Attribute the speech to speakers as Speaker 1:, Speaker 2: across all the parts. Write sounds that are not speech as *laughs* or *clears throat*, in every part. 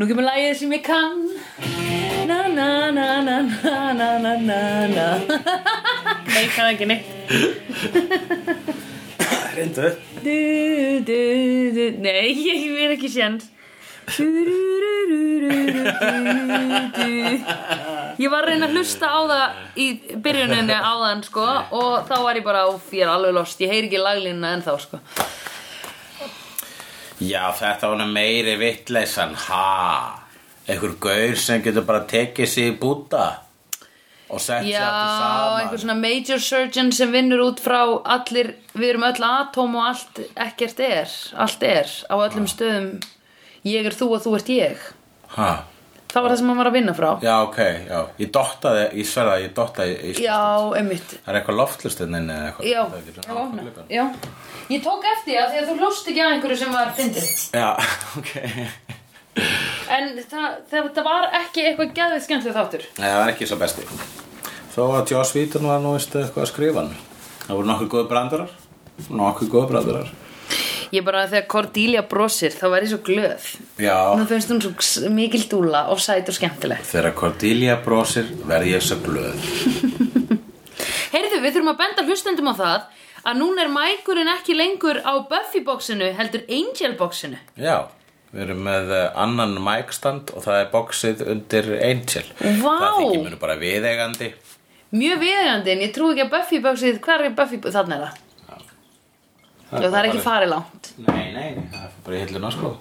Speaker 1: Nú kemur lagið sem ég kann Na na na na na na na na na Nei, ég kann ekki neitt
Speaker 2: Reyndu
Speaker 1: du, du, du. Nei, ég er ekki sjans Du, du, du, du, du, du, du. Ég var að reyna að hlusta á það í byrjuninni á þann sko og þá var ég bara, óf, ég er alveg lost ég heyri ekki laglínuna ennþá sko
Speaker 2: Já, þetta var nú meiri vittleysan, ha Einhver gaur sem getur bara tekið sig í búta Og sett sér allir
Speaker 1: Já,
Speaker 2: saman
Speaker 1: einhver svona major surgeon sem vinnur út frá allir, við erum öll atóm og allt ekkert er, allt er á öllum
Speaker 2: Ah.
Speaker 1: stöðum, ég er þú og þú ert ég
Speaker 2: ha.
Speaker 1: það
Speaker 2: Ah.
Speaker 1: var það sem hann var að vinna frá
Speaker 2: Já, ok, já Ég dottaði, ég sverða, ég dottaði í, í,
Speaker 1: Já, einmitt
Speaker 2: Það er eitthvað loftlustinn inn eða eitthvað
Speaker 1: Já,
Speaker 2: Það getur
Speaker 1: já,
Speaker 2: opnað gluggann.
Speaker 1: já Ég tók eftir það þegar þú hlóst ekki að einhverju sem var fyndið
Speaker 2: Já, *laughs* ok
Speaker 1: En það, það var ekki eitthvað geðvið skemmtið þáttur
Speaker 2: Nei, það var ekki svo besti Þó að Joss Vítan var nú veistu eitthvað að skrifa hann Það voru nokkuð góð brandarar Nokkuð góð brandarar
Speaker 1: Ég bara þegar Cordelia brosir þá var ég svo glöð Nú
Speaker 2: Já,
Speaker 1: finnst hún svo s- mikil dúla og sæt og skemmtileg
Speaker 2: þegar Cordelia brosir verð ég svo glöð
Speaker 1: Heyrðu, við þurfum að benda hlustendum á það að núna er mækurinn ekki lengur á Buffy boxinu, heldur Angel boxinu.
Speaker 2: Já, við erum með eh, annan mækstand og það er boxið undir Angel
Speaker 1: Vá!
Speaker 2: Það þykir mér nú bara viðegandi
Speaker 1: Mjög viðeigandi, en ég trúi ekki að Buffy boxið, hvar er Buffy, þarna er það. Og það er ekki farið langt.
Speaker 2: Nei, nei, nei, það er bara í hilluna sko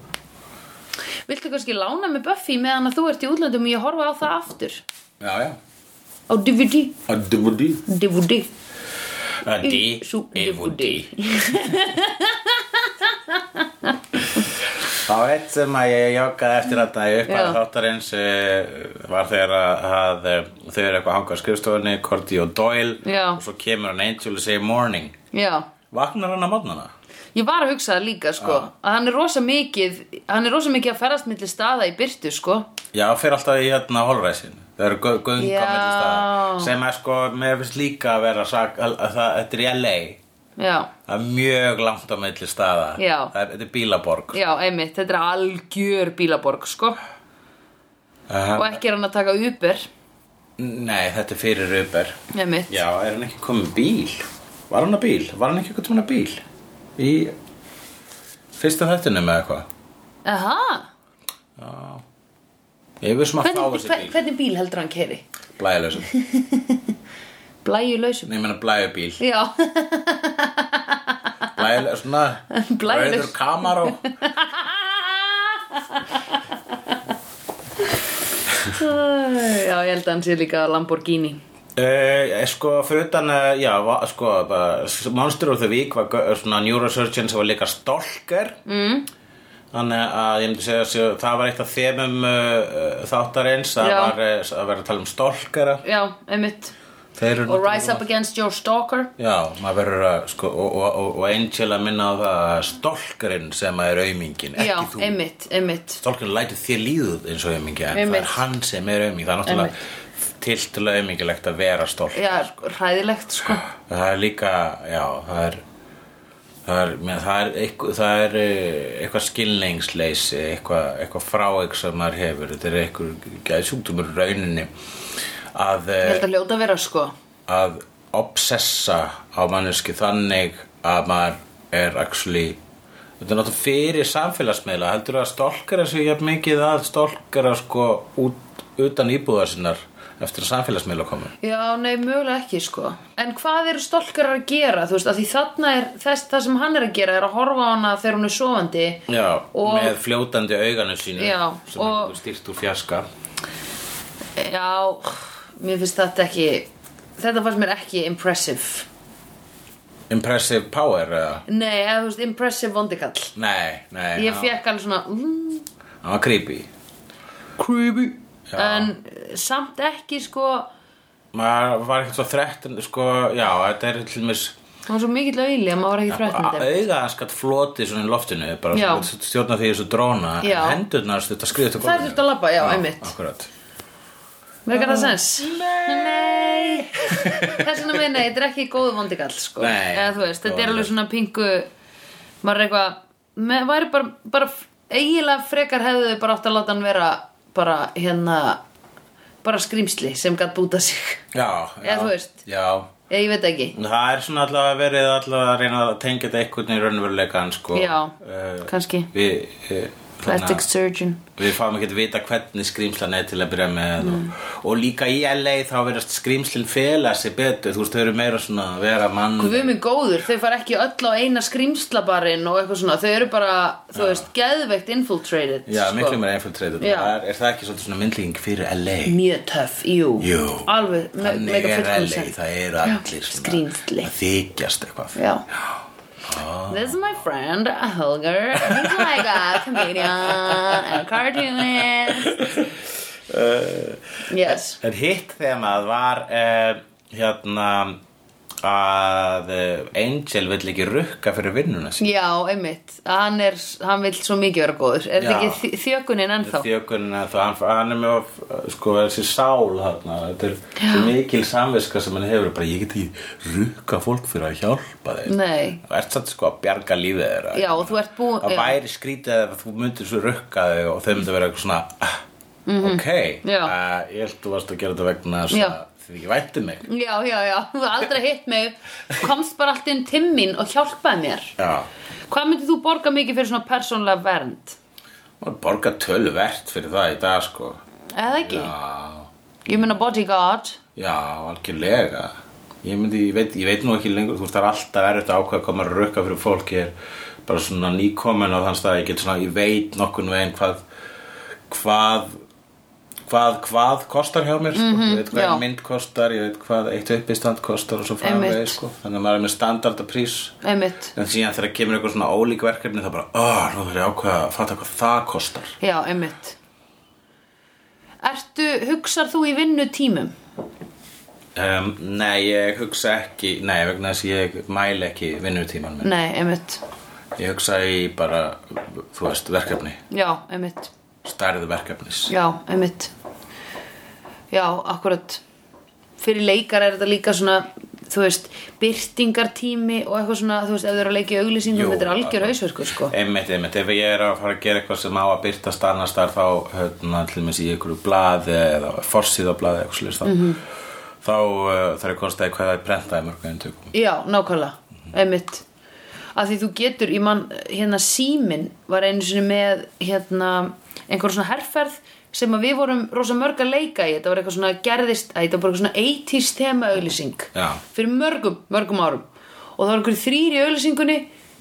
Speaker 1: Viltu kannski lána með Buffy meðan að þú ert í útlöndum og ég horfa á það aftur?
Speaker 2: Já, já
Speaker 1: Á DVD,
Speaker 2: A DVD
Speaker 1: DVD,
Speaker 2: A D
Speaker 1: sú
Speaker 2: DVD
Speaker 1: DVD.
Speaker 2: Það var eitt sem að ég joggaði eftir að það upp að
Speaker 1: Já.
Speaker 2: þáttarins eh, var þegar að, að eh, þau eru eitthvað að hanga á skrifstofunni, Cordy og Doyle
Speaker 1: Já.
Speaker 2: og svo kemur hann Angel og segir morning
Speaker 1: Já,
Speaker 2: Vaknar hann að mótnana?
Speaker 1: ég var að hugsa það líka, sko, að hann er rosa mikið, hann er rosa mikið að ferast milli staða í byrtu, sko.
Speaker 2: Já, fyrir alltaf í hérna holræsin Það eru gö- göng á milli
Speaker 1: Já.
Speaker 2: staða sem er sko, mér finnst líka að vera sak, að, að það, þetta er í LA
Speaker 1: Já,
Speaker 2: Það er mjög langt á milli staða
Speaker 1: Já.
Speaker 2: það, er- Þetta er bílaborg
Speaker 1: já, einmitt, þetta er algjör bílaborg, sko.
Speaker 2: uh,
Speaker 1: og ekki er hann að taka Uber
Speaker 2: Nei, þetta er fyrir Uber
Speaker 1: einmitt.
Speaker 2: Já, er hann ekki komið bíl? Var hann að bíl? Var hann ekki eitthvað tóna bíl? Í fyrsta þættunum eða eitthvað?
Speaker 1: Aha,
Speaker 2: Ég er vissum að fá
Speaker 1: hvernig,
Speaker 2: þessi
Speaker 1: hver,
Speaker 2: bíl
Speaker 1: hvernig bíl heldur hann keiri?
Speaker 2: Blæðilösum Nei,
Speaker 1: Blæju lausum
Speaker 2: ég meina blæðu bíl
Speaker 1: *laughs* Já,
Speaker 2: Blæðilösum, svona
Speaker 1: Blæjulaus.
Speaker 2: Rauður kamaró
Speaker 1: já, ég held að hann sé líka Lamborghini
Speaker 2: Uh, sko, fyrir utan, uh, já, va- sko, bara, s- Monster of the Week var gau- svona neurosurgeon sem var líka stalker mm. Þannig að ég myndi segja að það var eitt af þemum uh, uh, þáttarins Það
Speaker 1: Já.
Speaker 2: var uh, að vera að tala um stalkera
Speaker 1: Já, einmitt
Speaker 2: Þeir eru
Speaker 1: Og Rise Up Against Your Stalker
Speaker 2: Já, maður verður að, sko, og, og, og, og Angel að minna á það að stalkerinn sem er aumingin, ekki
Speaker 1: Já,
Speaker 2: þú
Speaker 1: einmitt, einmitt
Speaker 2: Stalkerinn lætur þér líðuð eins og aumingi en það
Speaker 1: Einmitt.
Speaker 2: er hann sem er auming, það er náttúrulega tiltulega aumingilegt að vera stalker
Speaker 1: Já, hræðilegt sko
Speaker 2: Það er líka, já, það er það er, menn, það er, eitthvað, það er eh, eitthvað skilningsleysi eitthvað, eitthvað fráeik sem maður hefur þetta er eitthvað gæðsjúkdómur í rauninni
Speaker 1: Ég
Speaker 2: að, eh,
Speaker 1: held að hljóta að vera sko
Speaker 2: að obsessa á manneski þannig að maður er actually þetta er náttúrulega fyrir samfélagsmiðla heldur að stólkara sig jafn mikið að stólkara sko út, utan íbúðar sinnar eftir að samfélagsmiðla komu
Speaker 1: Já, nei, mögulega ekki sko En hvað eru stalkerar að gera, þú veist að Því þarna er, þess, það sem hann er að gera er að horfa á hana þegar hún er sofandi
Speaker 2: Já,
Speaker 1: Og-
Speaker 2: með fljótandi auganu sínu
Speaker 1: Já,
Speaker 2: sem
Speaker 1: og-
Speaker 2: og... stýrt úr fjarska
Speaker 1: Já, mér finnst þetta ekki Þetta fannst mér ekki impressive
Speaker 2: Impressive power eða?
Speaker 1: Nei, eða þú veist, impressive vondikall
Speaker 2: Nei, nei,
Speaker 1: Ég
Speaker 2: hann-
Speaker 1: fekk alveg svona mm,
Speaker 2: hann var creepy
Speaker 1: Creepy
Speaker 2: Já.
Speaker 1: En eh, samt ekki sko Það
Speaker 2: Maður var ekkert svo þrettin sko, já, þetta er til mér
Speaker 1: var svo mikill auðli að maður var ekki um þrættandi
Speaker 2: auga skat floti svona í loftinu bara
Speaker 1: Já.
Speaker 2: svona stjórna því þessu dróna en
Speaker 1: Já.
Speaker 2: hendurnar stutt að skrifa til
Speaker 1: Það er þurft að labba, já, einmitt
Speaker 2: Akkurat
Speaker 1: Mér kannar sens
Speaker 2: *laughs*
Speaker 1: Nei Þess vegna meina, þetta er ekki góð vondikall sko
Speaker 2: Nei,
Speaker 1: Eða þú veist,
Speaker 2: góð
Speaker 1: þetta er alveg
Speaker 2: vondikall.
Speaker 1: svona pingu Maður er eitthvað me- Væri bara, bara eiginlega frekar hefðu þau bara átt að láta hann vera bara hérna bara skrýmsli sem gætt búta sig
Speaker 2: Já, já.
Speaker 1: Eða þú veist.
Speaker 2: Já,
Speaker 1: eða ég veit ekki
Speaker 2: það er svona allavega verið allavega að reyna að tengja þetta einhvern í raunveruleikan sko.
Speaker 1: Já,
Speaker 2: Eh,
Speaker 1: kannski.
Speaker 2: Við, eh, þannig
Speaker 1: plastic
Speaker 2: að
Speaker 1: surgeon
Speaker 2: við fáum ekki að vita hvernig skrýmslan er til að byrja með
Speaker 1: Mm.
Speaker 2: og, og líka í LA þá verðast skrýmslin fela sig betur, þú veist, þau eru meira svona að vera mann
Speaker 1: Guð minn góður, þau fara ekki öll á eina skrýmslabarinn og eitthvað svona, þau eru bara, þú veist, geðveikt infiltrated
Speaker 2: Já, miklu meira einfjöldtreyður
Speaker 1: sko. Já.
Speaker 2: er, er það ekki svolítið svona myndlíking fyrir LA?
Speaker 1: Mjög töff, jú,
Speaker 2: Jú,
Speaker 1: alveg, me
Speaker 2: þannig
Speaker 1: mega
Speaker 2: er
Speaker 1: fullkomn
Speaker 2: LA,
Speaker 1: sens.
Speaker 2: það eru allir svona
Speaker 1: skrýmsli.
Speaker 2: að þykjast eitthvað
Speaker 1: Já This is my friend, Holger He's like a comedian and a cartoonist
Speaker 2: Eh.
Speaker 1: Yes
Speaker 2: En hitt þemað var uh, hérna að eh, Angel vill ekki rukka fyrir vinnuna sín
Speaker 1: Já, einmitt, hann er, hann vill svo mikið vera góður Er þetta
Speaker 2: Já.
Speaker 1: ekki þj- þjökunin ennþá?
Speaker 2: þjökun að það hann, hann er með of, sko þessi sál hérna, þetta er svo mikil samviska sem hann hefur bara ég get ekki rukka fólk fyrir að hjálpa þeir
Speaker 1: Nei
Speaker 2: þú ert satt sko að bjarga lífið þeirra
Speaker 1: Já, og þú ert búin
Speaker 2: það væri skrítið ef þú myndir svo rukka þau og þau myndir vera eitthvað svona ah, ok,
Speaker 1: Mhm. Já.
Speaker 2: uh, ég held þú varst að gera þetta vegna þess
Speaker 1: Já.
Speaker 2: að þið ekki væntu mig
Speaker 1: Já, já, já, þú hefur aldrei hitt mig Þú komst bara allt inn til mín og hjálpaði mér
Speaker 2: Já.
Speaker 1: Hvað myndir þú borga mikið fyrir svona persónlega vernd?
Speaker 2: Maður borgar tölvert fyrir það í dag sko
Speaker 1: Eða ekki?
Speaker 2: Já,
Speaker 1: Ég meina bodyguard
Speaker 2: já algjörlega ég, myndi, ég, veit, ég veit nú ekki lengur, þú veist það er alltaf erfitt að ákveða hvað maður er að rukka fyrir fólk ég er bara svona nýkomin á þann stað ég, get svona, ég veit nokkun veginn hvað hvað hvað, hvað kostar hjá mér sko. ég veit hvað
Speaker 1: Mhm, já.
Speaker 2: ein mynd kostar, ég veit hvað eitt uppistand kostar og svo
Speaker 1: Einmitt.
Speaker 2: framvegis sko. þannig að maður er með standardaprís
Speaker 1: Einmitt
Speaker 2: en síðan þegar kemur eitthvað svona ólík verkefni þá bara, oh, nú þarf ég að ákveða að fatta hvað það kostar
Speaker 1: Já, einmitt Ertu, hugsar þú í vinnu tímum?
Speaker 2: Um, nei, ég hugsa ekki Nei, vegna þess að ég mæli ekki vinnutíman minn
Speaker 1: Nei, einmitt
Speaker 2: Ég hugsa í bara, þú veist, verkefni
Speaker 1: Já, einmitt
Speaker 2: Stærð verkefnis
Speaker 1: Já, einmitt Já, akkurat Fyrir leikar er þetta líka svona þú veist, byrtingartími og eitthvað svona, þú veist, ef þau eru að leika í auglýsingum
Speaker 2: Jú,
Speaker 1: þetta er algjör
Speaker 2: akkurat.
Speaker 1: hausverkur, sko
Speaker 2: Einmitt, einmitt, ef ég er að fara að gera eitthvað sem á að byrta annars þar þá hérna, til dæmis í einhverju blaði eða forsýða blaði eitthvað slýst þá
Speaker 1: Mhm.
Speaker 2: þá uh, þarf ég að konstaði hvað það er prentað í mörgum eintökum
Speaker 1: Já, nákvæmlega, einmitt að því þú getur, ég man hérna símin var einu sinni með hérna einhver svona herrferð sem að við vorum rosa mörg að leika í þetta var eitthvað svona gerðist, að þetta var bara eitthvað svona 80s tema auglýsing
Speaker 2: Já.
Speaker 1: fyrir mörgum, mörgum árum og það var einhver þrýri auglýsingunni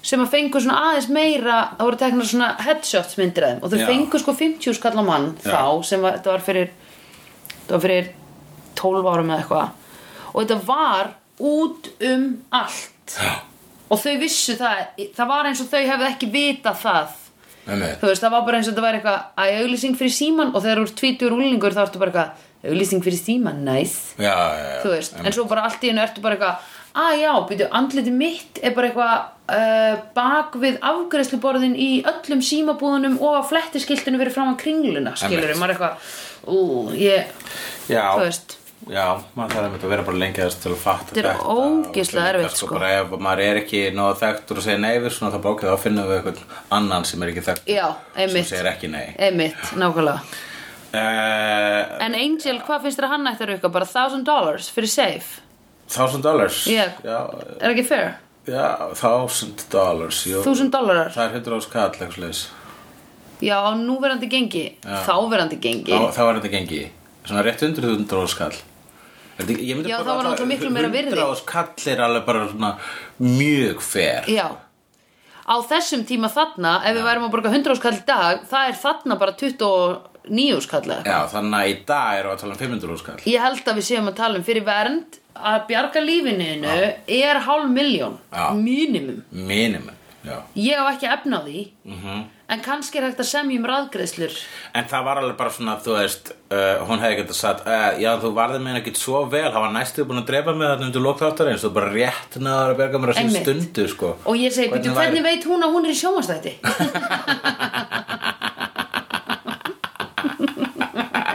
Speaker 1: sem að fengu svona aðeins meira það voru teknar svona headshots myndir að þeim og þau
Speaker 2: Já.
Speaker 1: fengu sko 50 skall á mann
Speaker 2: Já.
Speaker 1: þá sem var, þetta var fyrir þetta var fyrir 12 árum eða eitthvað og þetta var út um allt
Speaker 2: Já,
Speaker 1: og þau vissu það það var eins og þau hefðu ekki vitað það
Speaker 2: einmitt
Speaker 1: þú veist, það var bara eins og þetta var eitthvað að auglýsing fyrir síman og þegar þú ert tvítur úlningur þá ertu bara eitthvað auglýsing fyrir síman, nice
Speaker 2: Já, já, já
Speaker 1: þú veist, en svo bara allt í hennu ertu bara eitthvað að já, byrju, andliti mitt er bara eitthvað uh, bak við afgreðsluborðin í öllum símabúðunum og að flettiskiltinu verið fram á kringluna skilur,
Speaker 2: Einmitt.
Speaker 1: maður er eitthvað ú, ég,
Speaker 2: Já,
Speaker 1: þú veist
Speaker 2: Já, maður þarf einmitt að vera bara lengi þess til að fatta
Speaker 1: Þetta er ógeðslega
Speaker 2: og líka,
Speaker 1: erfitt, sko.
Speaker 2: bara ef maður er ekki nóða þekktur og segir nei við svona þá bara okkur þá finnum við einhvern annan sem er ekki þekktur
Speaker 1: Já, einmitt.
Speaker 2: sem segir ekki nei
Speaker 1: Einmitt, nákvæmlega
Speaker 2: uh,
Speaker 1: En Angel, hvað finnst þér að hann ætti að rauka? Bara 1000 dollars fyrir safe
Speaker 2: Thousand dollars
Speaker 1: Já.
Speaker 2: já,
Speaker 1: Er ekki fair?
Speaker 2: já, thousand dollars jú.
Speaker 1: 1000 dollarar
Speaker 2: Það er hundur ás kall eitthvað leis
Speaker 1: Já, á núverandi gengi Þáverandi gengi
Speaker 2: þá, þá var þetta gengi Svona rétt undir hundur ás kall
Speaker 1: Já, þá var náttúrulega miklu meira virði.
Speaker 2: Hundur ás kall er alveg bara svona mjög fer
Speaker 1: Já Á þessum tíma þarna, ef við værum að borga 100 skall í dag Það er þarna bara 29 skall eða eitthvað.
Speaker 2: Já, þannig að í dag erum við að tala um 500 ás kall
Speaker 1: Ég held að við séum að tala um fyrir vernd Að bjarga lífininu er hálf miljón
Speaker 2: Já.
Speaker 1: Mínimum
Speaker 2: Minimum, já
Speaker 1: Ég á ekki efna á því -hmm.
Speaker 2: Mhm.
Speaker 1: En kannski er hægt að semja um raðgreiðslur
Speaker 2: En það var alveg bara svona, þú veist, uh, hún hefði getað sagt, uh, já, þú varði meina ekki svo vel, hann var næstuð búin að drepa mig þarna undir lókþáttarins, þú bara rétt náður að berga mér á sín
Speaker 1: Einmitt.
Speaker 2: stundu, sko.
Speaker 1: Og ég segi, hvernig, hvernig veit hún að hún er í sjómanstætti?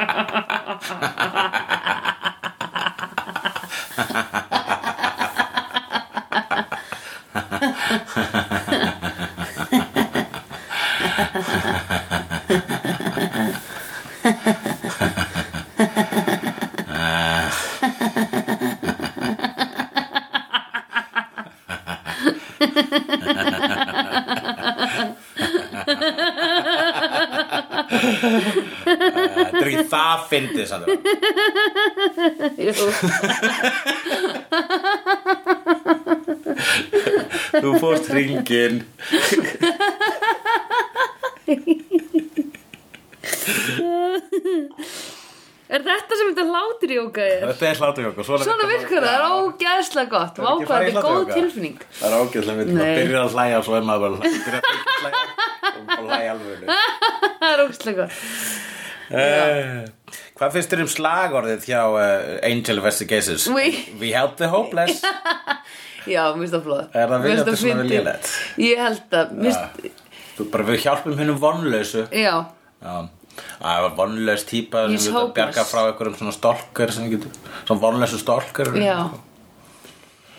Speaker 2: *laughs* Eh, Þetta er ekki það fyndið, Sandra
Speaker 1: Jú.
Speaker 2: *laughs* Þú fórst ringin
Speaker 1: Er þetta sem þetta hlátur jóka er?
Speaker 2: Þetta er hlátujóka
Speaker 1: Svona virkar það, það er ógæðslega gott Vá hvað þetta er góð tilfinning *laughs*
Speaker 2: Það er ágæðslega myndið,
Speaker 1: Nei.
Speaker 2: maður byrjar að hlæja og svo er maður bara byrjar að byrja að hlæja og bara hlæja alveg
Speaker 1: Það er ógæðslega gott
Speaker 2: uh, Hvað finnst þér um slagorðið hjá uh, Angel Investigations?
Speaker 1: We-
Speaker 2: We help the hopeless
Speaker 1: Já, mér finnst það flóð
Speaker 2: Er það viljandi svona Ah. viljulegt?
Speaker 1: Ég held að, mér finnst,
Speaker 2: Þú bara við hjálpum hennum vonlausu
Speaker 1: já
Speaker 2: Já, það var vonlaus típa sem
Speaker 1: He's
Speaker 2: við þetta
Speaker 1: hopeless.
Speaker 2: bjarga frá einhverjum svona stolkar sem við getum, svona vonlausu stolkar *clears throat*
Speaker 1: Já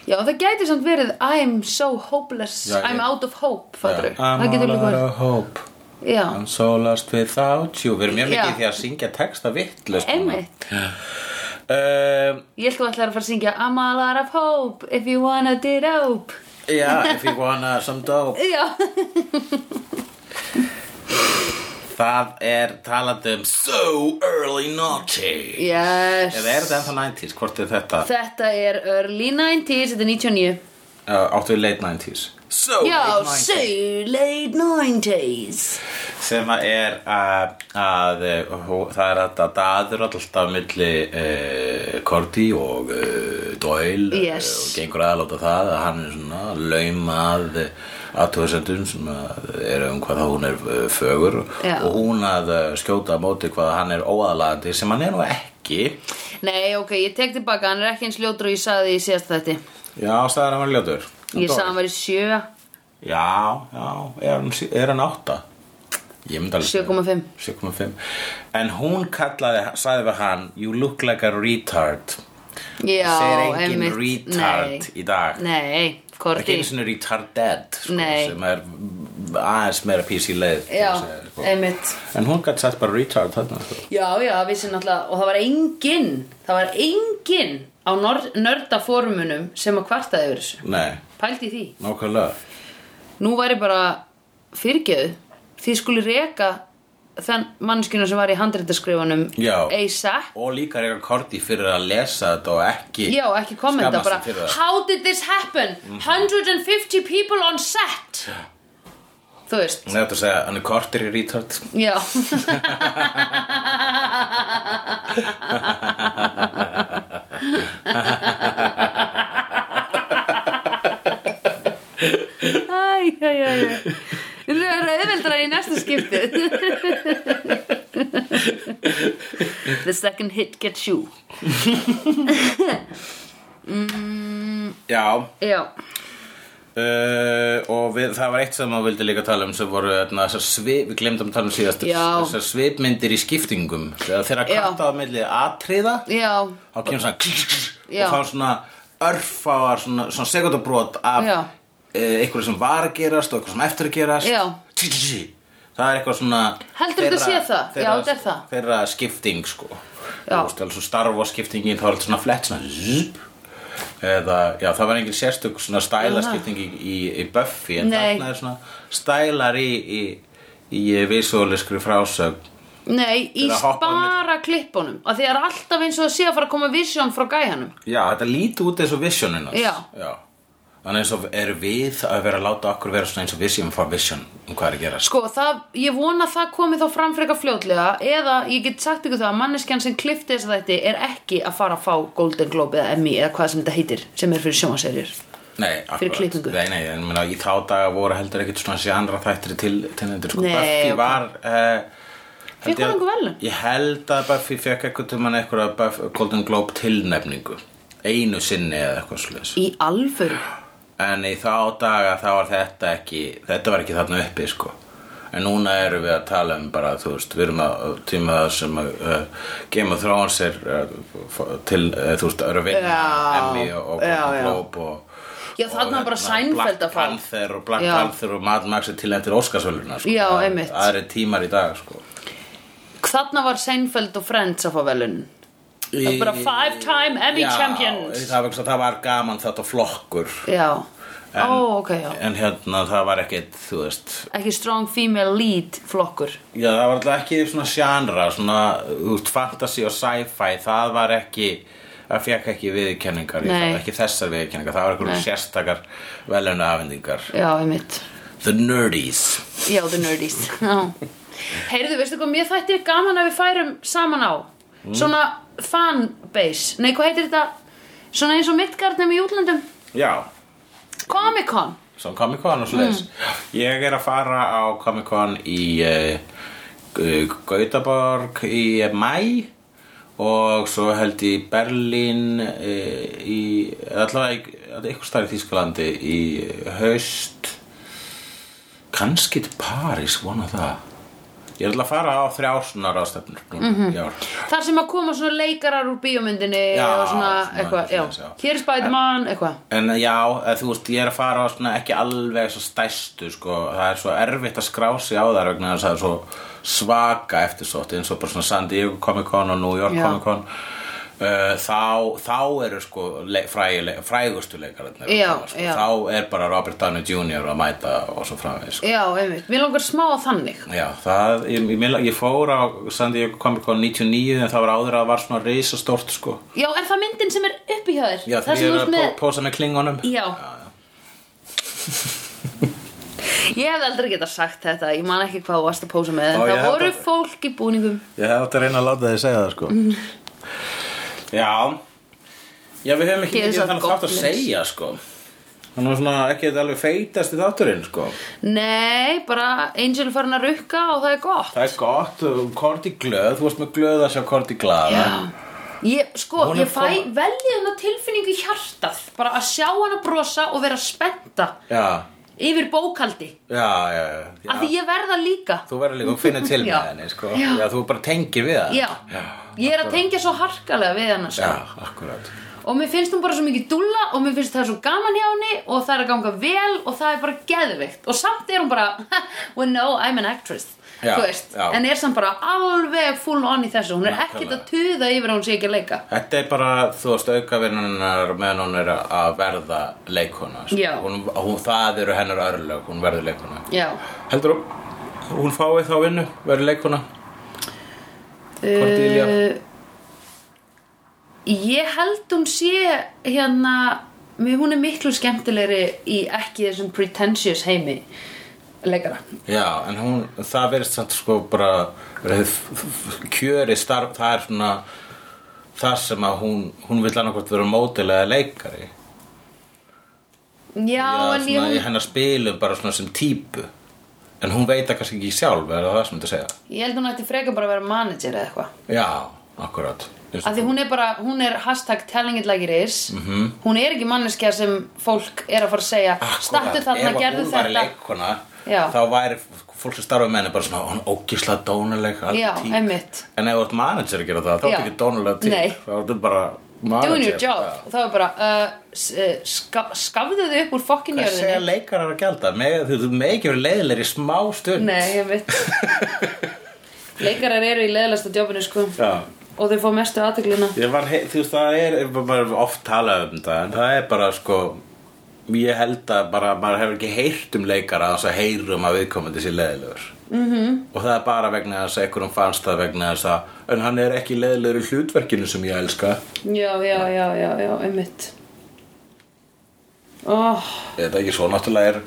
Speaker 1: Já, það gæti samt verið I'm so hopeless,
Speaker 2: Já, ég-
Speaker 1: I'm out of hope fattur
Speaker 2: I'm
Speaker 1: Það getur
Speaker 2: all
Speaker 1: líka
Speaker 2: out
Speaker 1: verið
Speaker 2: of hope
Speaker 1: Já,
Speaker 2: I'm so lost without you Við erum mjög mikið
Speaker 1: Já.
Speaker 2: í því að syngja texta vittlust
Speaker 1: einmitt
Speaker 2: um,
Speaker 1: Ég held þú ætlaðir að fara að syngja I'm all out of hope, if you wanna do dope
Speaker 2: Já, if you wanna some dope
Speaker 1: Já,
Speaker 2: *laughs* Það er talandi um so early naughty
Speaker 1: yes
Speaker 2: Eða er þetta ennþá 90s, hvort er þetta?
Speaker 1: Þetta er early 90s, þetta er 99
Speaker 2: Uh, áttu við late 90s So
Speaker 1: Já,
Speaker 2: Oh, late 90s
Speaker 1: so late 90s
Speaker 2: sem að er að, að uh, hó- það er þetta daður alltaf milli uh, Korti og uh, Doyle
Speaker 1: Yes.
Speaker 2: eh, og gengur aðláta það að hann er svona laumað aðtöðsendum sem að er um hvað hún er eh, fögur
Speaker 1: Já.
Speaker 2: og hún að eh, skjóta á móti hvað hann er óaðlandi sem hann er nú ekki
Speaker 1: Nei, ok, ég tek tilbaka, hann er ekki eins ljótur og ég saði því í síðast þetta
Speaker 2: Já, staðar hann var ljótur
Speaker 1: Ég saði hann var í 7,
Speaker 2: Já, já, er hann, sí- er hann átta? Ég myndi alveg
Speaker 1: 7,5
Speaker 2: 7,5 En hún kallaði, sagði við hann You look like a retard
Speaker 1: Já,
Speaker 2: Segir engin
Speaker 1: einmitt.
Speaker 2: retard
Speaker 1: Nei.
Speaker 2: í dag
Speaker 1: Nei,
Speaker 2: Ekki
Speaker 1: Korti
Speaker 2: einu sinni retarded sko,
Speaker 1: Nei.
Speaker 2: sem er aðeins meira písi leið til
Speaker 1: Já,
Speaker 2: að segja, sko.
Speaker 1: einmitt
Speaker 2: En hún gæti sagt bara retard þarna sko.
Speaker 1: Já, já, vissi náttúrulega Og það var enginn, það var enginn á nördaformunum sem að kvartaði yfir þessu
Speaker 2: Nei,
Speaker 1: Pældi í því
Speaker 2: nákvæmlega
Speaker 1: Nú væri bara fyrirgjöðu Þið skuli reka þann mannskina sem var í handrættaskrifanum
Speaker 2: Já.
Speaker 1: ASAP
Speaker 2: Og líka reyka Korti fyrir að lesa þetta og ekki
Speaker 1: Já, ekki kommenta
Speaker 2: skammast
Speaker 1: bara
Speaker 2: sín fyrir það. Mhm.
Speaker 1: How did this happen? 150 people on set Þú veist
Speaker 2: Nei, þetta að segja, hann er Korti í retard
Speaker 1: Já Æ, æ, æ, æ Þú er auðveldra í næsta skiptið The second hit gets you
Speaker 2: Já,
Speaker 1: Já,
Speaker 2: Uh, og við, það var eitt sem maður vildi líka tala um sem voru þarna, þessar svip, við glemdum að tala um síðast
Speaker 1: Já.
Speaker 2: þessar svipmyndir í skiptingum þegar þeirra
Speaker 1: Já.
Speaker 2: kattaða milli atriða
Speaker 1: já,
Speaker 2: þá kemur svona klik, klik,
Speaker 1: Já.
Speaker 2: og þá svona örfáar svona, svona segundabrót af
Speaker 1: Já.
Speaker 2: uh, einhverju sem var að gerast og einhverju sem eftir að gerast
Speaker 1: Já.
Speaker 2: Tsk, tsk, tsk. það er eitthvað svona
Speaker 1: Heldur þetta
Speaker 2: þeirra-
Speaker 1: sé það? Já,
Speaker 2: þeirra-
Speaker 1: þetta er það.
Speaker 2: þeirra skipting sko
Speaker 1: Já.
Speaker 2: þú veist, alveg svo starfa skiptingin þá er þetta svona flett svona zzz, eða, já, það var engin sérstök svona stæla skipting í, í, í Buffy en
Speaker 1: Nei.
Speaker 2: þarna er svona stælar í, í, í visualiskri frásögn
Speaker 1: Nei, í
Speaker 2: Þegar að hoppa á
Speaker 1: spara klippunum og því er alltaf eins og að sé að fara að koma vision frá gæjanum
Speaker 2: já, þetta líti út eins og visionin hans.
Speaker 1: Já.
Speaker 2: já þannig eins og er við að vera að láta okkur vera svona eins og vision for vision um hvað er að gera
Speaker 1: Sko, það, ég vona að það komi þá fram frekar fljótlega eða ég get sagt ykkur það að manneskjan sem klifti þess að þetta er ekki að fara að fá Golden Globe eða Emmy eða hvað sem þetta heitir sem er fyrir sjónvaserjur
Speaker 2: Nei, akkurat.
Speaker 1: klippingu.
Speaker 2: Nei, nei, en meina, í þá daga voru heldur ekkert svona sjandra þættir til tennendur sko.
Speaker 1: Nei,
Speaker 2: Buffy
Speaker 1: ok.
Speaker 2: var uh,
Speaker 1: Fékk hún einhver verðlaun?
Speaker 2: Ég held að Buffy fekk eitthvað til mann eitthvað Buff, Golden Globe tilnefningu einu sinni eða eitthvað slags
Speaker 1: Í alvöru
Speaker 2: en í þá daga þá var þetta ekki þetta var ekki þarna uppi sko en núna erum við að tala um bara þú veist, við erum að á tíma það sem að uh, Game of Thrones er uh, f- til, uh, þú veist, eru að vinna
Speaker 1: Já,
Speaker 2: Emmy og, og
Speaker 1: já,
Speaker 2: Golden
Speaker 1: já.
Speaker 2: Globe og
Speaker 1: Já, þarna
Speaker 2: og
Speaker 1: var bara
Speaker 2: hérna,
Speaker 1: Seinfeld að
Speaker 2: Black
Speaker 1: fá.
Speaker 2: Panther og Black
Speaker 1: Já.
Speaker 2: Panther og Mad Max er tilhendir Óskarsvöluna sko.
Speaker 1: Já,
Speaker 2: Það er-
Speaker 1: einmitt.
Speaker 2: það eru tímar í dag sko.
Speaker 1: Þarna var Seinfeld og Friends að fá velun Það er bara five time Emmy
Speaker 2: Já,
Speaker 1: champions
Speaker 2: það var, það var gaman þetta flokkur
Speaker 1: Já,
Speaker 2: en,
Speaker 1: Ó, ok, já.
Speaker 2: en hérna það var ekkit þú veist
Speaker 1: Ekki strong female lead flokkur
Speaker 2: Já, það var alltaf ekki svona sjánra, svona út fantasy og sci-fi, það var ekki, það fekk ekki viðkenningar,
Speaker 1: Nei.
Speaker 2: ekki þessar viðkenningar, það var eitthvað
Speaker 1: Nei.
Speaker 2: sérstakar velunna afhendingar.
Speaker 1: Já, einmitt
Speaker 2: The Nerdies.
Speaker 1: Já, the nerdies Já. Heyrðu, veistu hvað, mér þætti gaman að við færum saman á Svona fanbase Nei, hvað heitir þetta? Svona eins og Midgardnum í útlöndum
Speaker 2: Já,
Speaker 1: Comic-Con
Speaker 2: svona Comic-Con og svoleiðis. Ég er að fara á Comic-Con í uh, Gautaborg í mæ og svo held ég í Berlín uh, í, allavega í- eitthvað starf í Þýskalandi í haust kannski til París, vona það Ég ætla að fara á þrjá svona ráðstefnur núna mm -hmm.
Speaker 1: Þar sem að koma svona leikarar úr bíómyndinni
Speaker 2: Já,
Speaker 1: og svona eitthvað,
Speaker 2: svona eitthvað svoleiðis,
Speaker 1: já.
Speaker 2: já.
Speaker 1: Hér er Spiderman, eitthvað
Speaker 2: En já, eða, þú veist, ég er að fara á svona ekki alveg svo stæstu, sko. Það er svo erfitt að skrá sig á þar vegna þess að það er svo svaka eftirsótt eins og bara svona San Diego Comic Con og New York
Speaker 1: Já.
Speaker 2: Comic Con. Uh, þá, þá eru sko le, frægi, le, frægustu leikararnir að
Speaker 1: Já,
Speaker 2: tala, sko.
Speaker 1: já.
Speaker 2: þá er bara Robert Downey Jr. að mæta og svo framvegis sko.
Speaker 1: Já, einmitt, mér langar smá að þannig
Speaker 2: já, það, ég, ég, ég fór á San Diego Comic Con 99 en það var áður að það var svona reisastórt sko.
Speaker 1: Já, er það myndin sem er uppi hjá þér?
Speaker 2: já,
Speaker 1: það
Speaker 2: því
Speaker 1: sem þú
Speaker 2: ég er
Speaker 1: ert
Speaker 2: að
Speaker 1: með
Speaker 2: pó- pósa með klingunum
Speaker 1: Já *laughs* Ég hefði aldrei getað sagt þetta Ég man ekki hvað þú varst að pósa með en
Speaker 2: Ó, ég
Speaker 1: Það
Speaker 2: held
Speaker 1: voru
Speaker 2: að-
Speaker 1: fólk í búningum
Speaker 2: Ég hef átt að reyna að láta þið segja það sko *laughs* Já Já við
Speaker 1: Gerið
Speaker 2: höfum ekki mikið
Speaker 1: svo
Speaker 2: þannig þátt að
Speaker 1: goblins.
Speaker 2: segja sko Þannig að svona ekki þetta alveg feitast í þátturinn sko
Speaker 1: Nei, bara Angel er farin að rukka og það er gott
Speaker 2: Það er gott, Korti glöð, þú varst með glöð að sjá Korti glada
Speaker 1: Ég, sko,
Speaker 2: Hún er
Speaker 1: ég fæ
Speaker 2: kom-
Speaker 1: veljið hennar tilfinningu í hjartað Bara að sjá hana brosa og vera spennta
Speaker 2: Já,
Speaker 1: Yfir bókaldi
Speaker 2: já, já, já.
Speaker 1: Af því ég verða líka
Speaker 2: Þú verður líka að finna
Speaker 1: *laughs*
Speaker 2: til með
Speaker 1: Já.
Speaker 2: henni sko já. þú bara tengir við það
Speaker 1: Já, ég er að tengja svo harkalega við hennar
Speaker 2: Já, akkurat
Speaker 1: Og mér finnst hún bara svo mikið dúlla og mér finnst það svo gaman hjá henni og það er að ganga vel og það er bara geðvikt og samt er hún bara, *laughs* well no, I'm an actress
Speaker 2: Já,
Speaker 1: þú veist,
Speaker 2: já.
Speaker 1: en er samt bara alveg full on í þessu, hún er
Speaker 2: Nákvæmlega.
Speaker 1: ekkert að tuða yfir að hún sé ekki að leika
Speaker 2: Þetta er bara, þú veist, aukavinnunar meðan hún er að verða leikona sko.
Speaker 1: Já.
Speaker 2: hún, hún, Það eru hennar örlög, hún verður leikona
Speaker 1: Já,
Speaker 2: Heldur þú hún fái þá vinnu, verður leikuna? Cordelia.
Speaker 1: uh, ég held hún sé hérna, mér, hún er miklu skemmtilegri í ekki þessum pretentious heimi leikara
Speaker 2: Já, en hún, það verðist samt sko bara verið f- f- kjöri starf, það er svona það sem að hún, hún vil annarkvort vera mótil eða leikari
Speaker 1: Já,
Speaker 2: Já,
Speaker 1: en ég,
Speaker 2: svona
Speaker 1: hún
Speaker 2: í hennar spilum bara svona sem típu en hún veit það kannski ekki sjálf er það það sem þú segja
Speaker 1: Ég held hún ætti frekar bara að vera manager eða eitthvað
Speaker 2: Já, akkurat Just,
Speaker 1: Af því hún er bara, hún er hashtag telling it like it is -hmm.
Speaker 2: Mhm.
Speaker 1: Hún er ekki manneskja sem fólk er að fara að segja Stattu þarna, gerðu
Speaker 2: Ah, sko, Ef hún væri
Speaker 1: þetta
Speaker 2: leikona
Speaker 1: Já.
Speaker 2: þá væri f- fólk sem starfa með henni bara svona hún ógislega dónuleg alveg
Speaker 1: Já,
Speaker 2: típ.
Speaker 1: einmitt.
Speaker 2: En ef þú ert manager að gera það þá
Speaker 1: Já.
Speaker 2: ertu ekki dónuleg típ
Speaker 1: Nei.
Speaker 2: þá ertu bara manager
Speaker 1: Doing your job Og þá er bara, uh, s- uh, ska, skafðu þau upp úr fokkin
Speaker 2: Hvað segja
Speaker 1: jörðinni
Speaker 2: leikarar að gælda? Þú þú með ekki verið leiðilegir í smá stund
Speaker 1: Nei, ég veit Leikarar eru í leðalasta jobbinu sko
Speaker 2: Já
Speaker 1: Og þau fá mestu aðteglina
Speaker 2: Ég var, hei- þú veist, það er, maður er oft talað um þetta, en það er bara, sko, ég held að bara, maður hefur ekki heyrt um leikara þess að heyrum að viðkomandi sér leiðilegur. Mm -hmm.
Speaker 1: Mhm.
Speaker 2: Og það er bara vegna þess að einhverjum fannst það vegna þess að, en hann er ekki leiðilegur í hlutverkinu sem ég elska.
Speaker 1: Já, já, já, já, já, einmitt Óh
Speaker 2: Þetta er ekki svo, náttúrulega er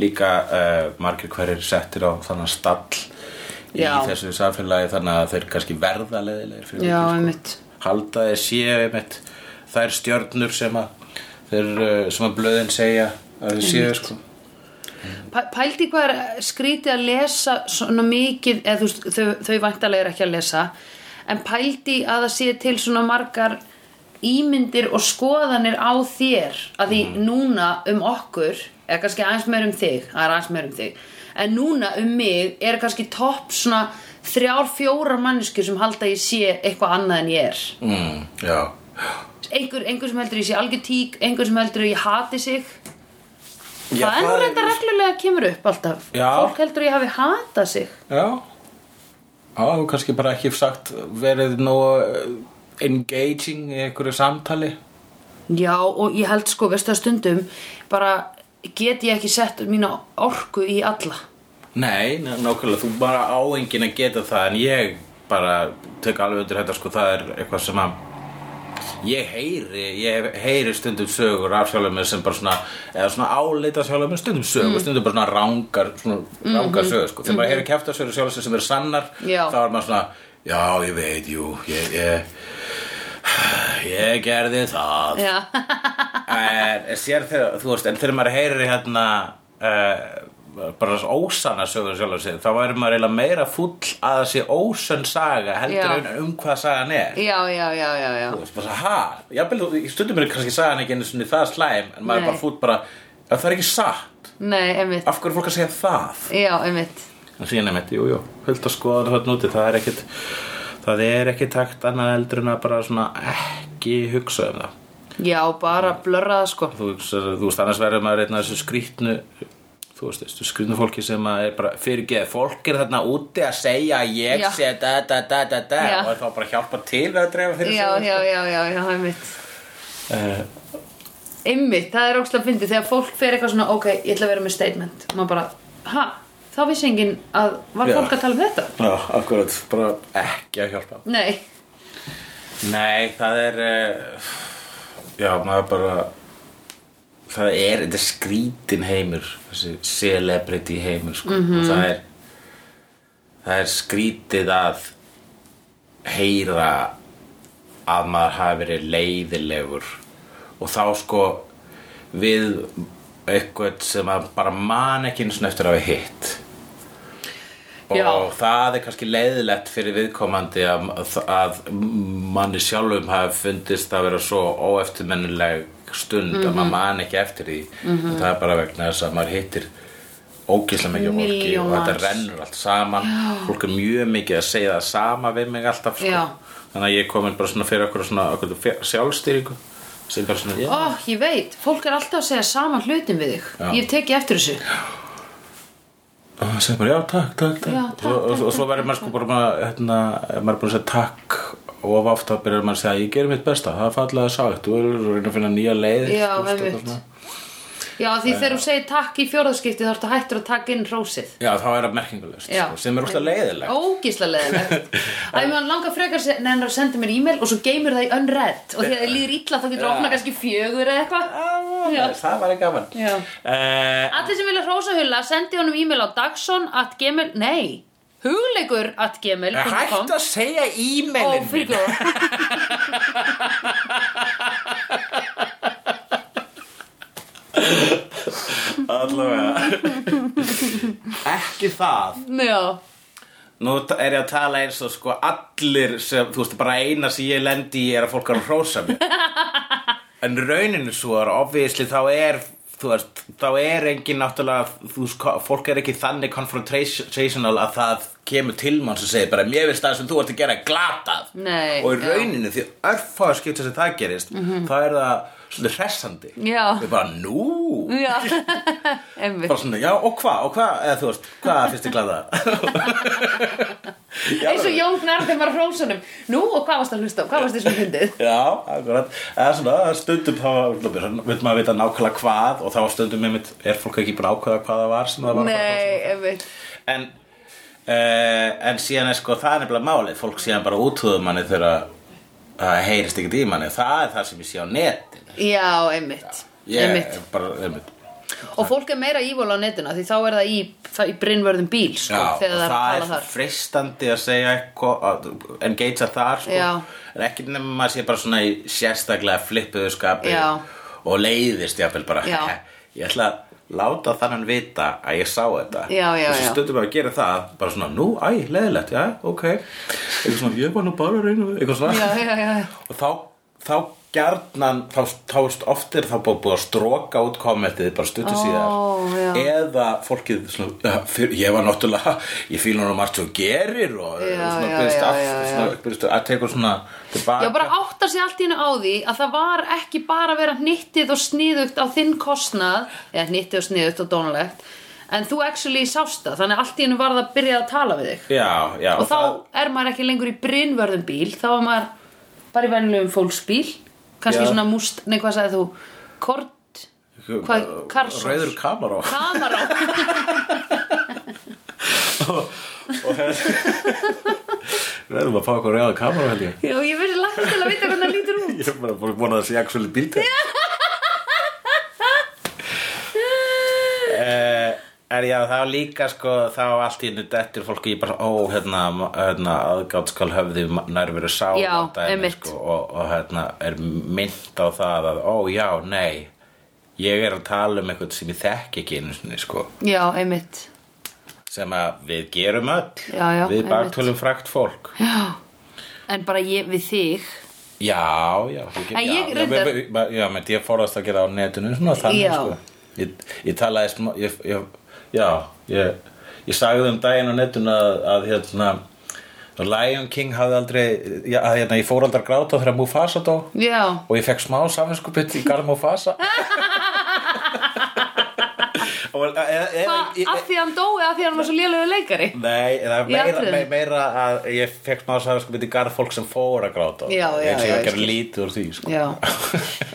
Speaker 2: líka uh, margir hverjir settir á þannig stall í
Speaker 1: Já.
Speaker 2: þessu samfélagi þannig að þeir kannski verða leiðilegir fyrir
Speaker 1: Já,
Speaker 2: vikið,
Speaker 1: einmitt
Speaker 2: halda þeir séu einmitt þær stjörnur sem að þeir, eh, sem að blöðin segja að þeir séu sko
Speaker 1: Pæ- Pældi hvað er eh, skrítið að lesa svona mikið, eða þú veist, þau, þau væntalega er ekki að lesa, en pældi að það sé til svona margar ímyndir og skoðanir á þér, að því núna um okkur, eða kannski aðeins meir um þig, það er aðeins meir um þig, en núna um mig er kannski topp svona þrjár, fjórar manneskur sem halda að ég sé eitthvað annað en ég er
Speaker 2: mm, Já,
Speaker 1: einhver, einhver sem heldur ég sé algjör tík einhver sem heldur ég hati sig
Speaker 2: Já,
Speaker 1: það er nú
Speaker 2: það er-
Speaker 1: reynda reglulega kemur upp alltaf
Speaker 2: Já.
Speaker 1: fólk heldur ég hafi hatað sig
Speaker 2: já Já, þú kannski bara ekki sagt verið nógu eh, engaging í einhverju samtali
Speaker 1: já og ég held sko veistu að stundum bara get ég ekki sett mína orku í alla
Speaker 2: Nei, ná- nákvæmlega, þú bara á enginn að geta það en ég bara tek alveg undir þetta sko, það er eitthvað sem að ég heyri, ég heyri stundum sögur af sjálfum mér sem bara svona eða svona áleita sjálfum mér stundum sögur stundum bara svona rangar, svona rangar sögur sko. þegar maður heyri kæfta sögur sjálfum sér sem eru sannar
Speaker 1: Já.
Speaker 2: þá er maður svona, já ég veit, jú ég, ég ég gerði það
Speaker 1: Já, *laughs*
Speaker 2: en sér þegar, þú veist, en þegar maður heyrir hérna uh, bara þess ósanna sögur sjálf sig þá væri maður eiginlega meira full að það sé ósönn saga heldur
Speaker 1: Já.
Speaker 2: en um hvað sagan er
Speaker 1: já, já, já, já, já.
Speaker 2: þú veist, bara svo, ha, jafnvel, þú- í stundum er kannski sagan ekki einu svona það slæm en maður
Speaker 1: Nei.
Speaker 2: er bara full bara, "Ja, það er ekki satt
Speaker 1: Nei, einmitt
Speaker 2: af hverju er fólk að segja það
Speaker 1: Já, einmitt
Speaker 2: en síðan er mitt, jú, jú, höllt að skoða það núti, það er ekkit það er ekki takt annað heldur en að bara svona ekki hugsa um það
Speaker 1: Já, bara blörra það sko
Speaker 2: þú, hugsar- þú veist, annars verður maður einn af þessu skrýtnu þú veist, þessu skrýtnu fólki sem að er bara fyrirgeð, fólk er þarna úti að segja að ég
Speaker 1: Já.
Speaker 2: sé da da da da da
Speaker 1: Já.
Speaker 2: og er þá bara að hjálpa til við að drefa fyrir
Speaker 1: Já, já, já, já, já, einmitt
Speaker 2: Eh,
Speaker 1: Einmitt, það er ókslega fyndið þegar fólk fer eitthvað svona Ok, ég ætla að vera með statement Og maður bara, ha, þá vissi enginn að Var
Speaker 2: Já.
Speaker 1: fólk að tala um þetta?
Speaker 2: Já, akkurat, bara ekki að hjálpa
Speaker 1: Nei,
Speaker 2: Nei, það er eh, Já, maður bara Það er, þetta er skrítin heimur Þessi celebrity heimur sko.
Speaker 1: Mhm.
Speaker 2: -hmm. Það er Það er skrítið að Heyra Að maður hafi verið leiðilegur Og þá sko Við eitthvað sem að bara man ekki einu svona eftir að við hitt og
Speaker 1: Já.
Speaker 2: það er kannski leiðilegt fyrir viðkomandi að, að manni sjálfum hafi fundist að vera svo óeftirmennileg stund að maður man ekki eftir því og það er bara vegna þess að maður hittir ógislega mikið af fólki
Speaker 1: Milljón
Speaker 2: og þetta
Speaker 1: manns.
Speaker 2: rennur allt saman Já. fólk er mjög mikið að segja það sama við mig alltaf
Speaker 1: Já.
Speaker 2: sko. þannig að ég er komin bara svona fyrir okkur, svona, okkur sjálfstýringu sem bara svona
Speaker 1: ó, ég veit Fólk er alltaf að segja saman hlutin við þig
Speaker 2: Já.
Speaker 1: Ég hef tekið eftir þessu
Speaker 2: og það segir bara já takk, takk, takk,
Speaker 1: Já, takk,
Speaker 2: og, og,
Speaker 1: takk,
Speaker 2: og svo verður maður sko bara maður, hérna, maður er búin að segja takk og of oft þá byrjar maður að segja ég gerir mitt besta, það er fallega sagt þú verður að reyna að finna nýja leið
Speaker 1: Já,
Speaker 2: þú veist,
Speaker 1: einmitt.
Speaker 2: eitthvað svona.
Speaker 1: Já, því þegar þú segir takk í fjórðaskipti Þá ertu hættur að taka inn rósið
Speaker 2: já þá er það merkingulegst
Speaker 1: Já.
Speaker 2: sko, sem er úrst að leiðileg
Speaker 1: Ógísla
Speaker 2: *laughs*
Speaker 1: leiðilegt Æ, maður langar frekar að nefnir að senda mér e-mail og svo geymir það í unread og því að það líður illa þá getur
Speaker 2: Já.
Speaker 1: það opnað kannski fjögur eða eitthvað Já.
Speaker 2: það var ekki gaman
Speaker 1: Já.
Speaker 2: Eh,
Speaker 1: Allir sem vilja hrósa hulla sendi honum e-mail á dagson at gmail nei, hugleikur at gmail.com
Speaker 2: hægt að segja
Speaker 1: og
Speaker 2: e-mailin mín.
Speaker 1: fyrir góða
Speaker 2: *laughs* allavega ekki það
Speaker 1: Já,
Speaker 2: Nú t- er ég að tala eins og sko allir sem, þú veist, bara eina sem ég lendi í er að fólk er að hrósa
Speaker 1: *laughs*
Speaker 2: mér. En rauninu svo er, obviously, þá er, þú veist, þá er engin náttúrulega, þú veist, ko- fólk er ekki þannig confrontational að það kemur til mann sem segir bara, mér finnst það sem þú ert að gera glatað.
Speaker 1: Nei,
Speaker 2: Og
Speaker 1: já.
Speaker 2: í
Speaker 1: Mhm.
Speaker 2: rauninu, því örfáðu skipta sem það gerist, þá er það svolítið hressandi.
Speaker 1: Já.
Speaker 2: Þau bara, nú,
Speaker 1: já *laughs* Einmitt
Speaker 2: bara svona, já, og hvað, og hvað, eða þú veist, hvað finnst þið glada?
Speaker 1: Eins og Jón Gnar þegar maður hrósa honum Nú og hvað varst að hlusta á, hvað varst þessum hundið
Speaker 2: *laughs* Já, akkurat eða svona, stundum þá vil maður vita nákvæmlega hvað og þá stundum einmitt, er fólk ekki búin að ákveða hvað það var sem það var að fara
Speaker 1: Nei, einmitt
Speaker 2: að fá. en, uh, en síðan er sko, það er nefnilega málið fólk síðan bara útúðum manni þegar að- að heyrist ekkert í manni það er það sem ég sé á netinu
Speaker 1: Já, einmitt
Speaker 2: ég
Speaker 1: Einmitt
Speaker 2: er bara, einmitt
Speaker 1: Og fólk er meira ívól á netuna því þá er það í, það í brinnvörðum bíl sko,
Speaker 2: Já,
Speaker 1: þegar það er að
Speaker 2: það
Speaker 1: tala
Speaker 2: er
Speaker 1: þar
Speaker 2: freistandi að segja eitthvað, að engagea þar sko.
Speaker 1: Já.
Speaker 2: en ekki nefnum maður sé bara svona í sérstaklega flippuðu skapi
Speaker 1: Já.
Speaker 2: og leiðist jáfnvel bara
Speaker 1: Já.
Speaker 2: ég ætla að láta þannan vita að ég sá þetta
Speaker 1: Já, já,
Speaker 2: og svo
Speaker 1: já.
Speaker 2: stundum bara að gera það bara svona, nú, æ, leiðilegt, já, ok eitthvað svona, ég var nú bara að reyna eitthvað svona
Speaker 1: Já, já, já, já.
Speaker 2: og þá, þá gjarnan þá, þá oft er þá búið búið að stróka út kommentið bara stuttu
Speaker 1: já.
Speaker 2: síðar eða fólkið svona, ja, fyr, ég var náttúrulega, *laughs* ég fíl hann á margt svo gerir og
Speaker 1: Já,
Speaker 2: svona,
Speaker 1: já,
Speaker 2: byrðist
Speaker 1: já,
Speaker 2: aft-
Speaker 1: já, já.
Speaker 2: svona, byrðist að tekur svona tilbaka
Speaker 1: Já, bara áttar sig allt í hennu á því að það var ekki bara að vera hnittið og sniðugt á þinn kostnað, eða hnittið og sniðugt og dónulegt, en þú actually sást það, þannig að allt í hennu var það að byrja að tala við þig.
Speaker 2: já, já,
Speaker 1: Og þá er maður ekki lengur í brinnvörðum bíl, þá er maður bara í venjulegum fólksbíl, kannski
Speaker 2: Já.
Speaker 1: svona múst, nei hvað sagði þú, kort, Hvað- Karlsson?
Speaker 2: Rauður Kamaró
Speaker 1: Kamaró
Speaker 2: Rauðum að fá eitthvað rauður Kamaró held ég
Speaker 1: *laughs* Já, ég verði langt til að vita hvernig það lítur út
Speaker 2: Ég er bara búin að það sé actually bíltæk yeah. Eh, En já, þá líka sko, þá allt í hennu dettur fólki ég bara, ó, hérna, ma- hérna aðgátt skal höfði ma- nærveru sá
Speaker 1: Já,
Speaker 2: á dæmi,
Speaker 1: einmitt.
Speaker 2: sko, og, og hérna er mynd á það að, ó, já, nei ég er að tala um eitthvað sem ég þekki ekki einu sinni, sko
Speaker 1: Já, einmitt
Speaker 2: sem að við gerum öll
Speaker 1: Já, já,
Speaker 2: við
Speaker 1: einmitt.
Speaker 2: baktölum frækt fólk
Speaker 1: Já, en bara ég við þig
Speaker 2: já, já þú
Speaker 1: En
Speaker 2: já,
Speaker 1: ég
Speaker 2: já,
Speaker 1: reyndar-
Speaker 2: við- við- já, menn ég forðast að gera á netinu svona þannig
Speaker 1: Já.
Speaker 2: sko ég, ég talaði smá ég, ég, já, ég, ég sagði um daginn á netinu að, að hérna Lion King hafði aldrei já, að, hérna, ég fór aldrei að gráta þegar Mufasa dó
Speaker 1: Já,
Speaker 2: og ég fekk smá saminskupið í
Speaker 1: *laughs*
Speaker 2: Garð Mufasa og e, e,
Speaker 1: Hva,
Speaker 2: e,
Speaker 1: af því að hann dói, af því að hann var svo lélögur leikari
Speaker 2: Nei, það er
Speaker 1: Í
Speaker 2: meira,
Speaker 1: atriðinu?
Speaker 2: me- meira að ég fekk smá sagði sko myndi garð fólk sem fór að gráta
Speaker 1: Já, já,
Speaker 2: eins
Speaker 1: já,
Speaker 2: og ég var að
Speaker 1: ég
Speaker 2: gera
Speaker 1: skil.
Speaker 2: lítið úr því sko.
Speaker 1: Já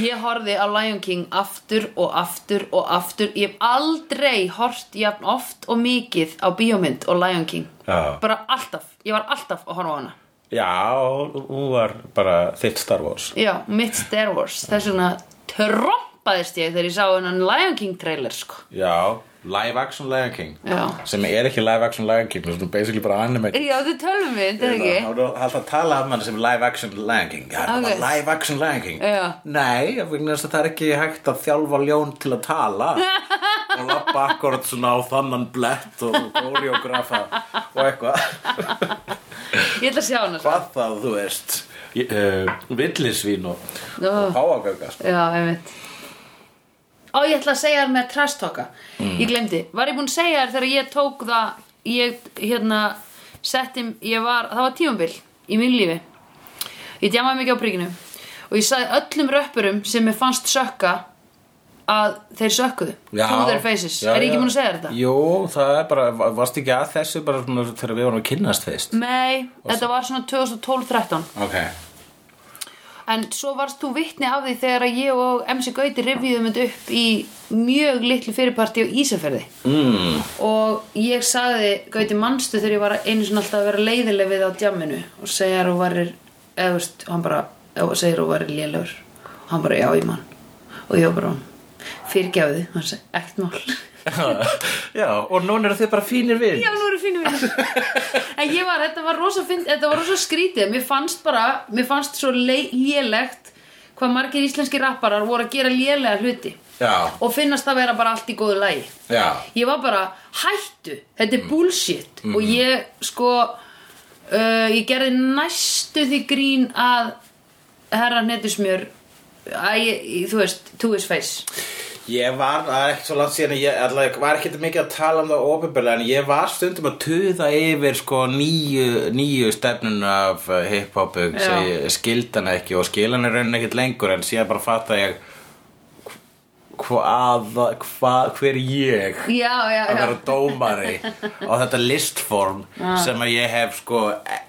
Speaker 1: Ég horfði á Lion King aftur og aftur og aftur Ég hef aldrei hort jafn oft og mikið á bíómynd og Lion King
Speaker 2: *laughs* Já.
Speaker 1: Bara alltaf, ég var alltaf að horfa á hana
Speaker 2: já, hún var bara þitt Star Wars
Speaker 1: Já, mitt Star Wars Þess vegna trompaðist ég þegar ég sá hennan Lion King trailer sko
Speaker 2: Já, live action Lion King
Speaker 1: Já.
Speaker 2: sem er ekki live action Lion King það er svona basically bara anime
Speaker 1: Já, þau tölum við, þetta er ekki
Speaker 2: Það er alltaf að tala um hann sem live action Lion King Já, það var
Speaker 1: Ok.
Speaker 2: live action Lion King
Speaker 1: Já.
Speaker 2: Nei, af vegna þess að það er ekki hægt að þjálfa ljón til að tala og lappa akkurat svona á þannan blett og koreografa og eitthvað
Speaker 1: Ég ætla að sjá hana sko. svo
Speaker 2: hvað þá, þú veist uh, villisvín og,
Speaker 1: Já.
Speaker 2: og páagögga sko.
Speaker 1: Já, einmitt Á, ég ætla að segja þér með trash talka
Speaker 2: Mm.
Speaker 1: Ég glemdi, var ég búin að segja þér þegar ég tók það Ég, hérna, settim, ég var, það var tímambil í mínu lífi Ég djamaði mikið á príkinu Og ég sagði öllum röppurum sem mér fannst sökka Að þeir sökkuðu To their faces,
Speaker 2: já,
Speaker 1: er ég
Speaker 2: já.
Speaker 1: ekki búin að segja þér þetta?
Speaker 2: Jú, það er bara, va- varstu ekki að þessu bara svona þegar við vorum að kynnast þeist
Speaker 1: Nei, þetta var svona 2012-13
Speaker 2: Ok,
Speaker 1: En svo varst þú vitni af því þegar að ég og MC Gauti revíðum þetta upp í mjög litlu fyrirparti á Ísafjörði. Mm. Og ég sagði Gauti manstu þegar ég var einu svona alltaf að vera leiðileg við á djamminu og segja að þú varir, eða þú veist, og hann bara, eða segir þú varir lélegur. Og hann bara, já, ég mann. Og ég var bara, fyrirgjáði, hann segi, ekkert mál.
Speaker 2: *laughs* já, og núna eru þið bara fínir vinn
Speaker 1: Já, nú eru fínum vinir En ég var, þetta var rosa, finn, þetta var rosa skrítið Mér fannst bara, mér fannst svo lei- lélegt Hvað margir íslenski rapparar voru að gera lélega hluti
Speaker 2: Já.
Speaker 1: Og finnast það vera bara allt í góðu lagi
Speaker 2: Já.
Speaker 1: Ég var bara, hættu, þetta
Speaker 2: Mm.
Speaker 1: er bullshit Og
Speaker 2: Mm-hmm.
Speaker 1: ég, sko, uh, ég gerði næstu því grín að Herra hnetusmjör Æ, ég- þú veist, to his face
Speaker 2: Ég var, það er ekkert svo langt síðan að ég allavega, ég var ekkert mikið að tala um það ofinbjörlega en ég var stundum að tuða yfir sko nýju, nýju stefnun af uh, hip-hopu sem
Speaker 1: Já.
Speaker 2: ég skildi hana ekki og skil hana í rauninni ekkert lengur en síðan bara fatta ég hvað, hvað, hver ég
Speaker 1: Já, já,
Speaker 2: að
Speaker 1: já
Speaker 2: vera dómari á þetta listform sem að ég hef sko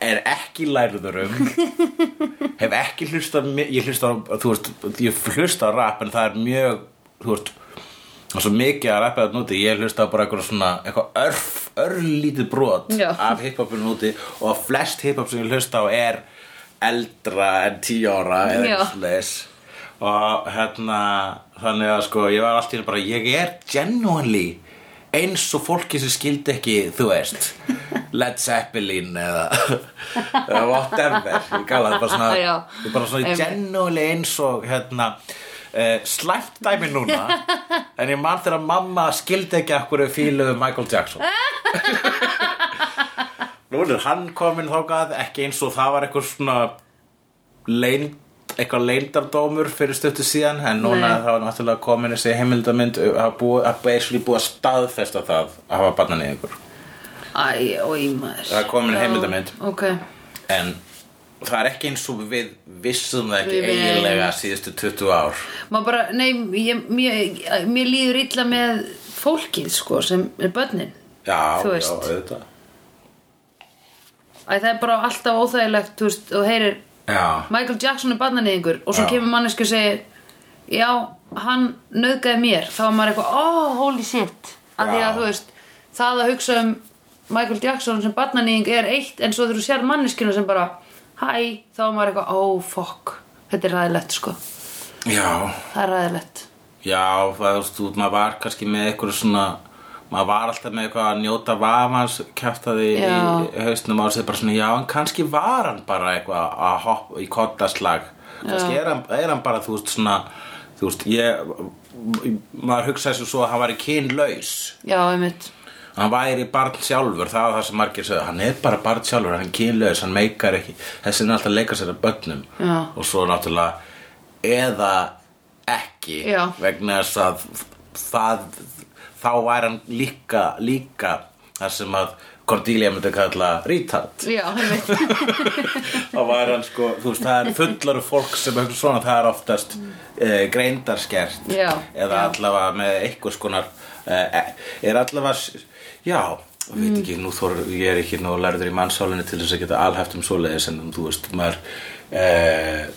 Speaker 2: er ekki lærður um hef ekki hlusta ég hlusta á, þú veist, ég hlusta á rap en það er mjög, þú veist það er svo mikið að rappa þetta núti ég hlusta á bara eitthvað svona, eitthvað örf örlítið brot
Speaker 1: Já.
Speaker 2: af hiphopinu núti og að flest hiphop sem ég hlusta á er eldra en tíu ára eða
Speaker 1: Já.
Speaker 2: eitthvað svoleiðis. og hérna þannig að sko ég var alltaf bara ég er genuinely eins og fólki sem skildi ekki þú
Speaker 1: *laughs*
Speaker 2: veist Led Zeppelin eða eða whatever ég gala það bara svona,
Speaker 1: Já.
Speaker 2: ég bara svona
Speaker 1: Einmitt.
Speaker 2: genuinely eins og hérna Uh, slæmt dæmi
Speaker 1: *laughs*
Speaker 2: núna en ég man þegar mamma skildi ekki akkur fíluðu Michael
Speaker 1: *laughs*
Speaker 2: Jackson nú er hann kominn þákað ekki eins og það var eitthvað svona leind, eitthvað leindardómur fyrir stöttu síðan en núna
Speaker 1: Nei.
Speaker 2: það var náttúrulega komin þessi heimildamynd að hafa búið að basically búið að staðfesta það að hafa barnan í ykkur
Speaker 1: Æ, oi maður
Speaker 2: Það er komin
Speaker 1: Já,
Speaker 2: heimildarmynd.
Speaker 1: Ok,
Speaker 2: en það er ekki eins og við vissum það ekki
Speaker 1: Við-
Speaker 2: eiginlega síðustu 20 ár
Speaker 1: maður bara, nei, ég, mér, mér líður illa með fólkið sko sem er börnin
Speaker 2: já,
Speaker 1: Þú
Speaker 2: já,
Speaker 1: veist.
Speaker 2: auðvitað
Speaker 1: Æ, það er bara alltaf óþægilegt, þú veist, og heyrir
Speaker 2: já,
Speaker 1: Michael Jackson er barnanýðingur og svo
Speaker 2: Já.
Speaker 1: kemur mannesku og segir Já, hann nöðgæði mér þá var maður eitthvað, oh, holy shit af því
Speaker 2: Já.
Speaker 1: að þú veist, það að hugsa um Michael Jackson sem barnanýðing er eitt en svo þegar þú sér manneskinu sem bara hæ, þá var maður eitthvað, oh, fuck þetta er ræðilegt, sko
Speaker 2: Já,
Speaker 1: það er ræðilegt
Speaker 2: já, það þú veist, þú- maður var kannski með eitthvað svona maður var alltaf með eitthvað að njóta vafans kjaftaði í
Speaker 1: Já.
Speaker 2: hausnum á sig bara svona, já, en kannski var hann bara eitthvað að hoppa í kottaslag kannski er hann, er hann bara, þú veist, svona þú veist, ég maður hugsaði svo að hann var í kynlaus
Speaker 1: já, einmitt,
Speaker 2: hann væri barn sjálfur, það var það sem margir sögðu hann er bara barn sjálfur, hann er kynlaus, hann meikar ekki þessi er alltaf að leika sér að börnum
Speaker 1: Já.
Speaker 2: og svo náttúrulega eða ekki
Speaker 1: Já.
Speaker 2: vegna þess að það, þá væri hann líka líka þar sem að Cordelia myndi kalla retard
Speaker 1: já, einmitt
Speaker 2: þá væri hann sko, þú veist, það er fullar af fólk sem hefur svona, það er oftast uh, greindarskert
Speaker 1: Já,
Speaker 2: eða
Speaker 1: já.
Speaker 2: allavega með einhvers konar uh, er allavega s- já,
Speaker 1: Mm.
Speaker 2: veit ekki, nú þor ég er ekki nú lærður í mannsálinu til þess að geta alhæft um svoleiðis en þú veist, maður uh,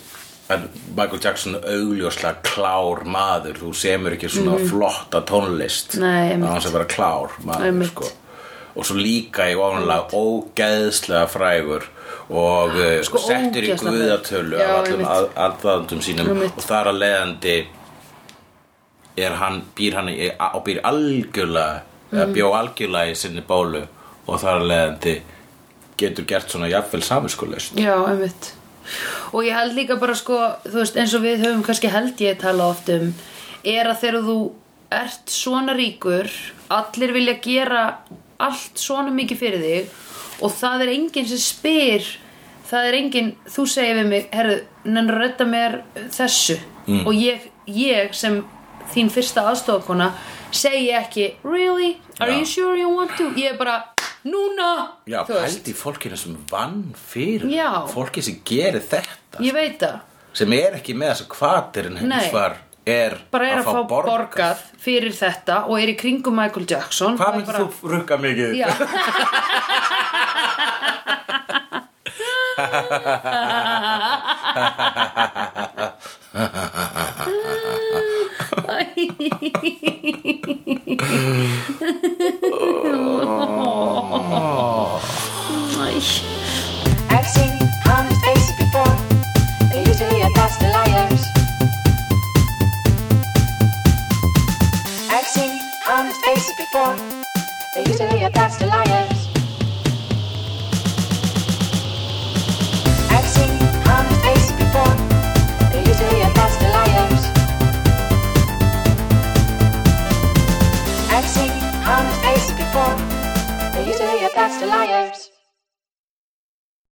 Speaker 2: En Michael Jackson augljóslega klár maður, þú semur ekki svona flotta tónlist
Speaker 1: Mhm. Nei, einmitt.
Speaker 2: Á hans að vera klár maður
Speaker 1: Einmitt.
Speaker 2: sko. og svo líka í ofanlega ógeðslega frægur og uh,
Speaker 1: Sko,
Speaker 2: settur í
Speaker 1: ógeðslega frægur.
Speaker 2: guðatölu
Speaker 1: Já,
Speaker 2: af allum
Speaker 1: einmitt.
Speaker 2: að- aðdáðendum sínum
Speaker 1: Einmitt.
Speaker 2: og þar að leiðandi er hann, býr hann í, eh, á býr algjörlega
Speaker 1: Mhm.
Speaker 2: eða bjó algjörlega í sinni bólu og þar að leiðandi getur gert svona jafnvel saminskuleist
Speaker 1: Já, einmitt Og ég held líka bara sko, þú veist, eins og við höfum kannski held ég tala oft um er að þegar þú ert svona ríkur allir vilja gera allt svona mikið fyrir þig og það er enginn sem spyr það er enginn, þú segir við mig herru, nennar að redda mér þessu
Speaker 2: Mm.
Speaker 1: og ég, ég sem þín fyrsta aðstofakona segi ekki, really? Are
Speaker 2: Já.
Speaker 1: you sure you want to? Ég er bara, núna
Speaker 2: Já,
Speaker 1: Þú veist,
Speaker 2: pældi fólkinu sem vann fyrir
Speaker 1: Já.
Speaker 2: fólki sem gerir þetta
Speaker 1: ég veit það
Speaker 2: sem er ekki með þessa kvatir en hins
Speaker 1: Nei.
Speaker 2: var er
Speaker 1: bara er að, fá, borgað.
Speaker 2: borgað.
Speaker 1: fyrir þetta og er í kringum Michael Jackson
Speaker 2: Hvað
Speaker 1: Það er
Speaker 2: myndir þú rukka mikið?
Speaker 1: Já. Æ.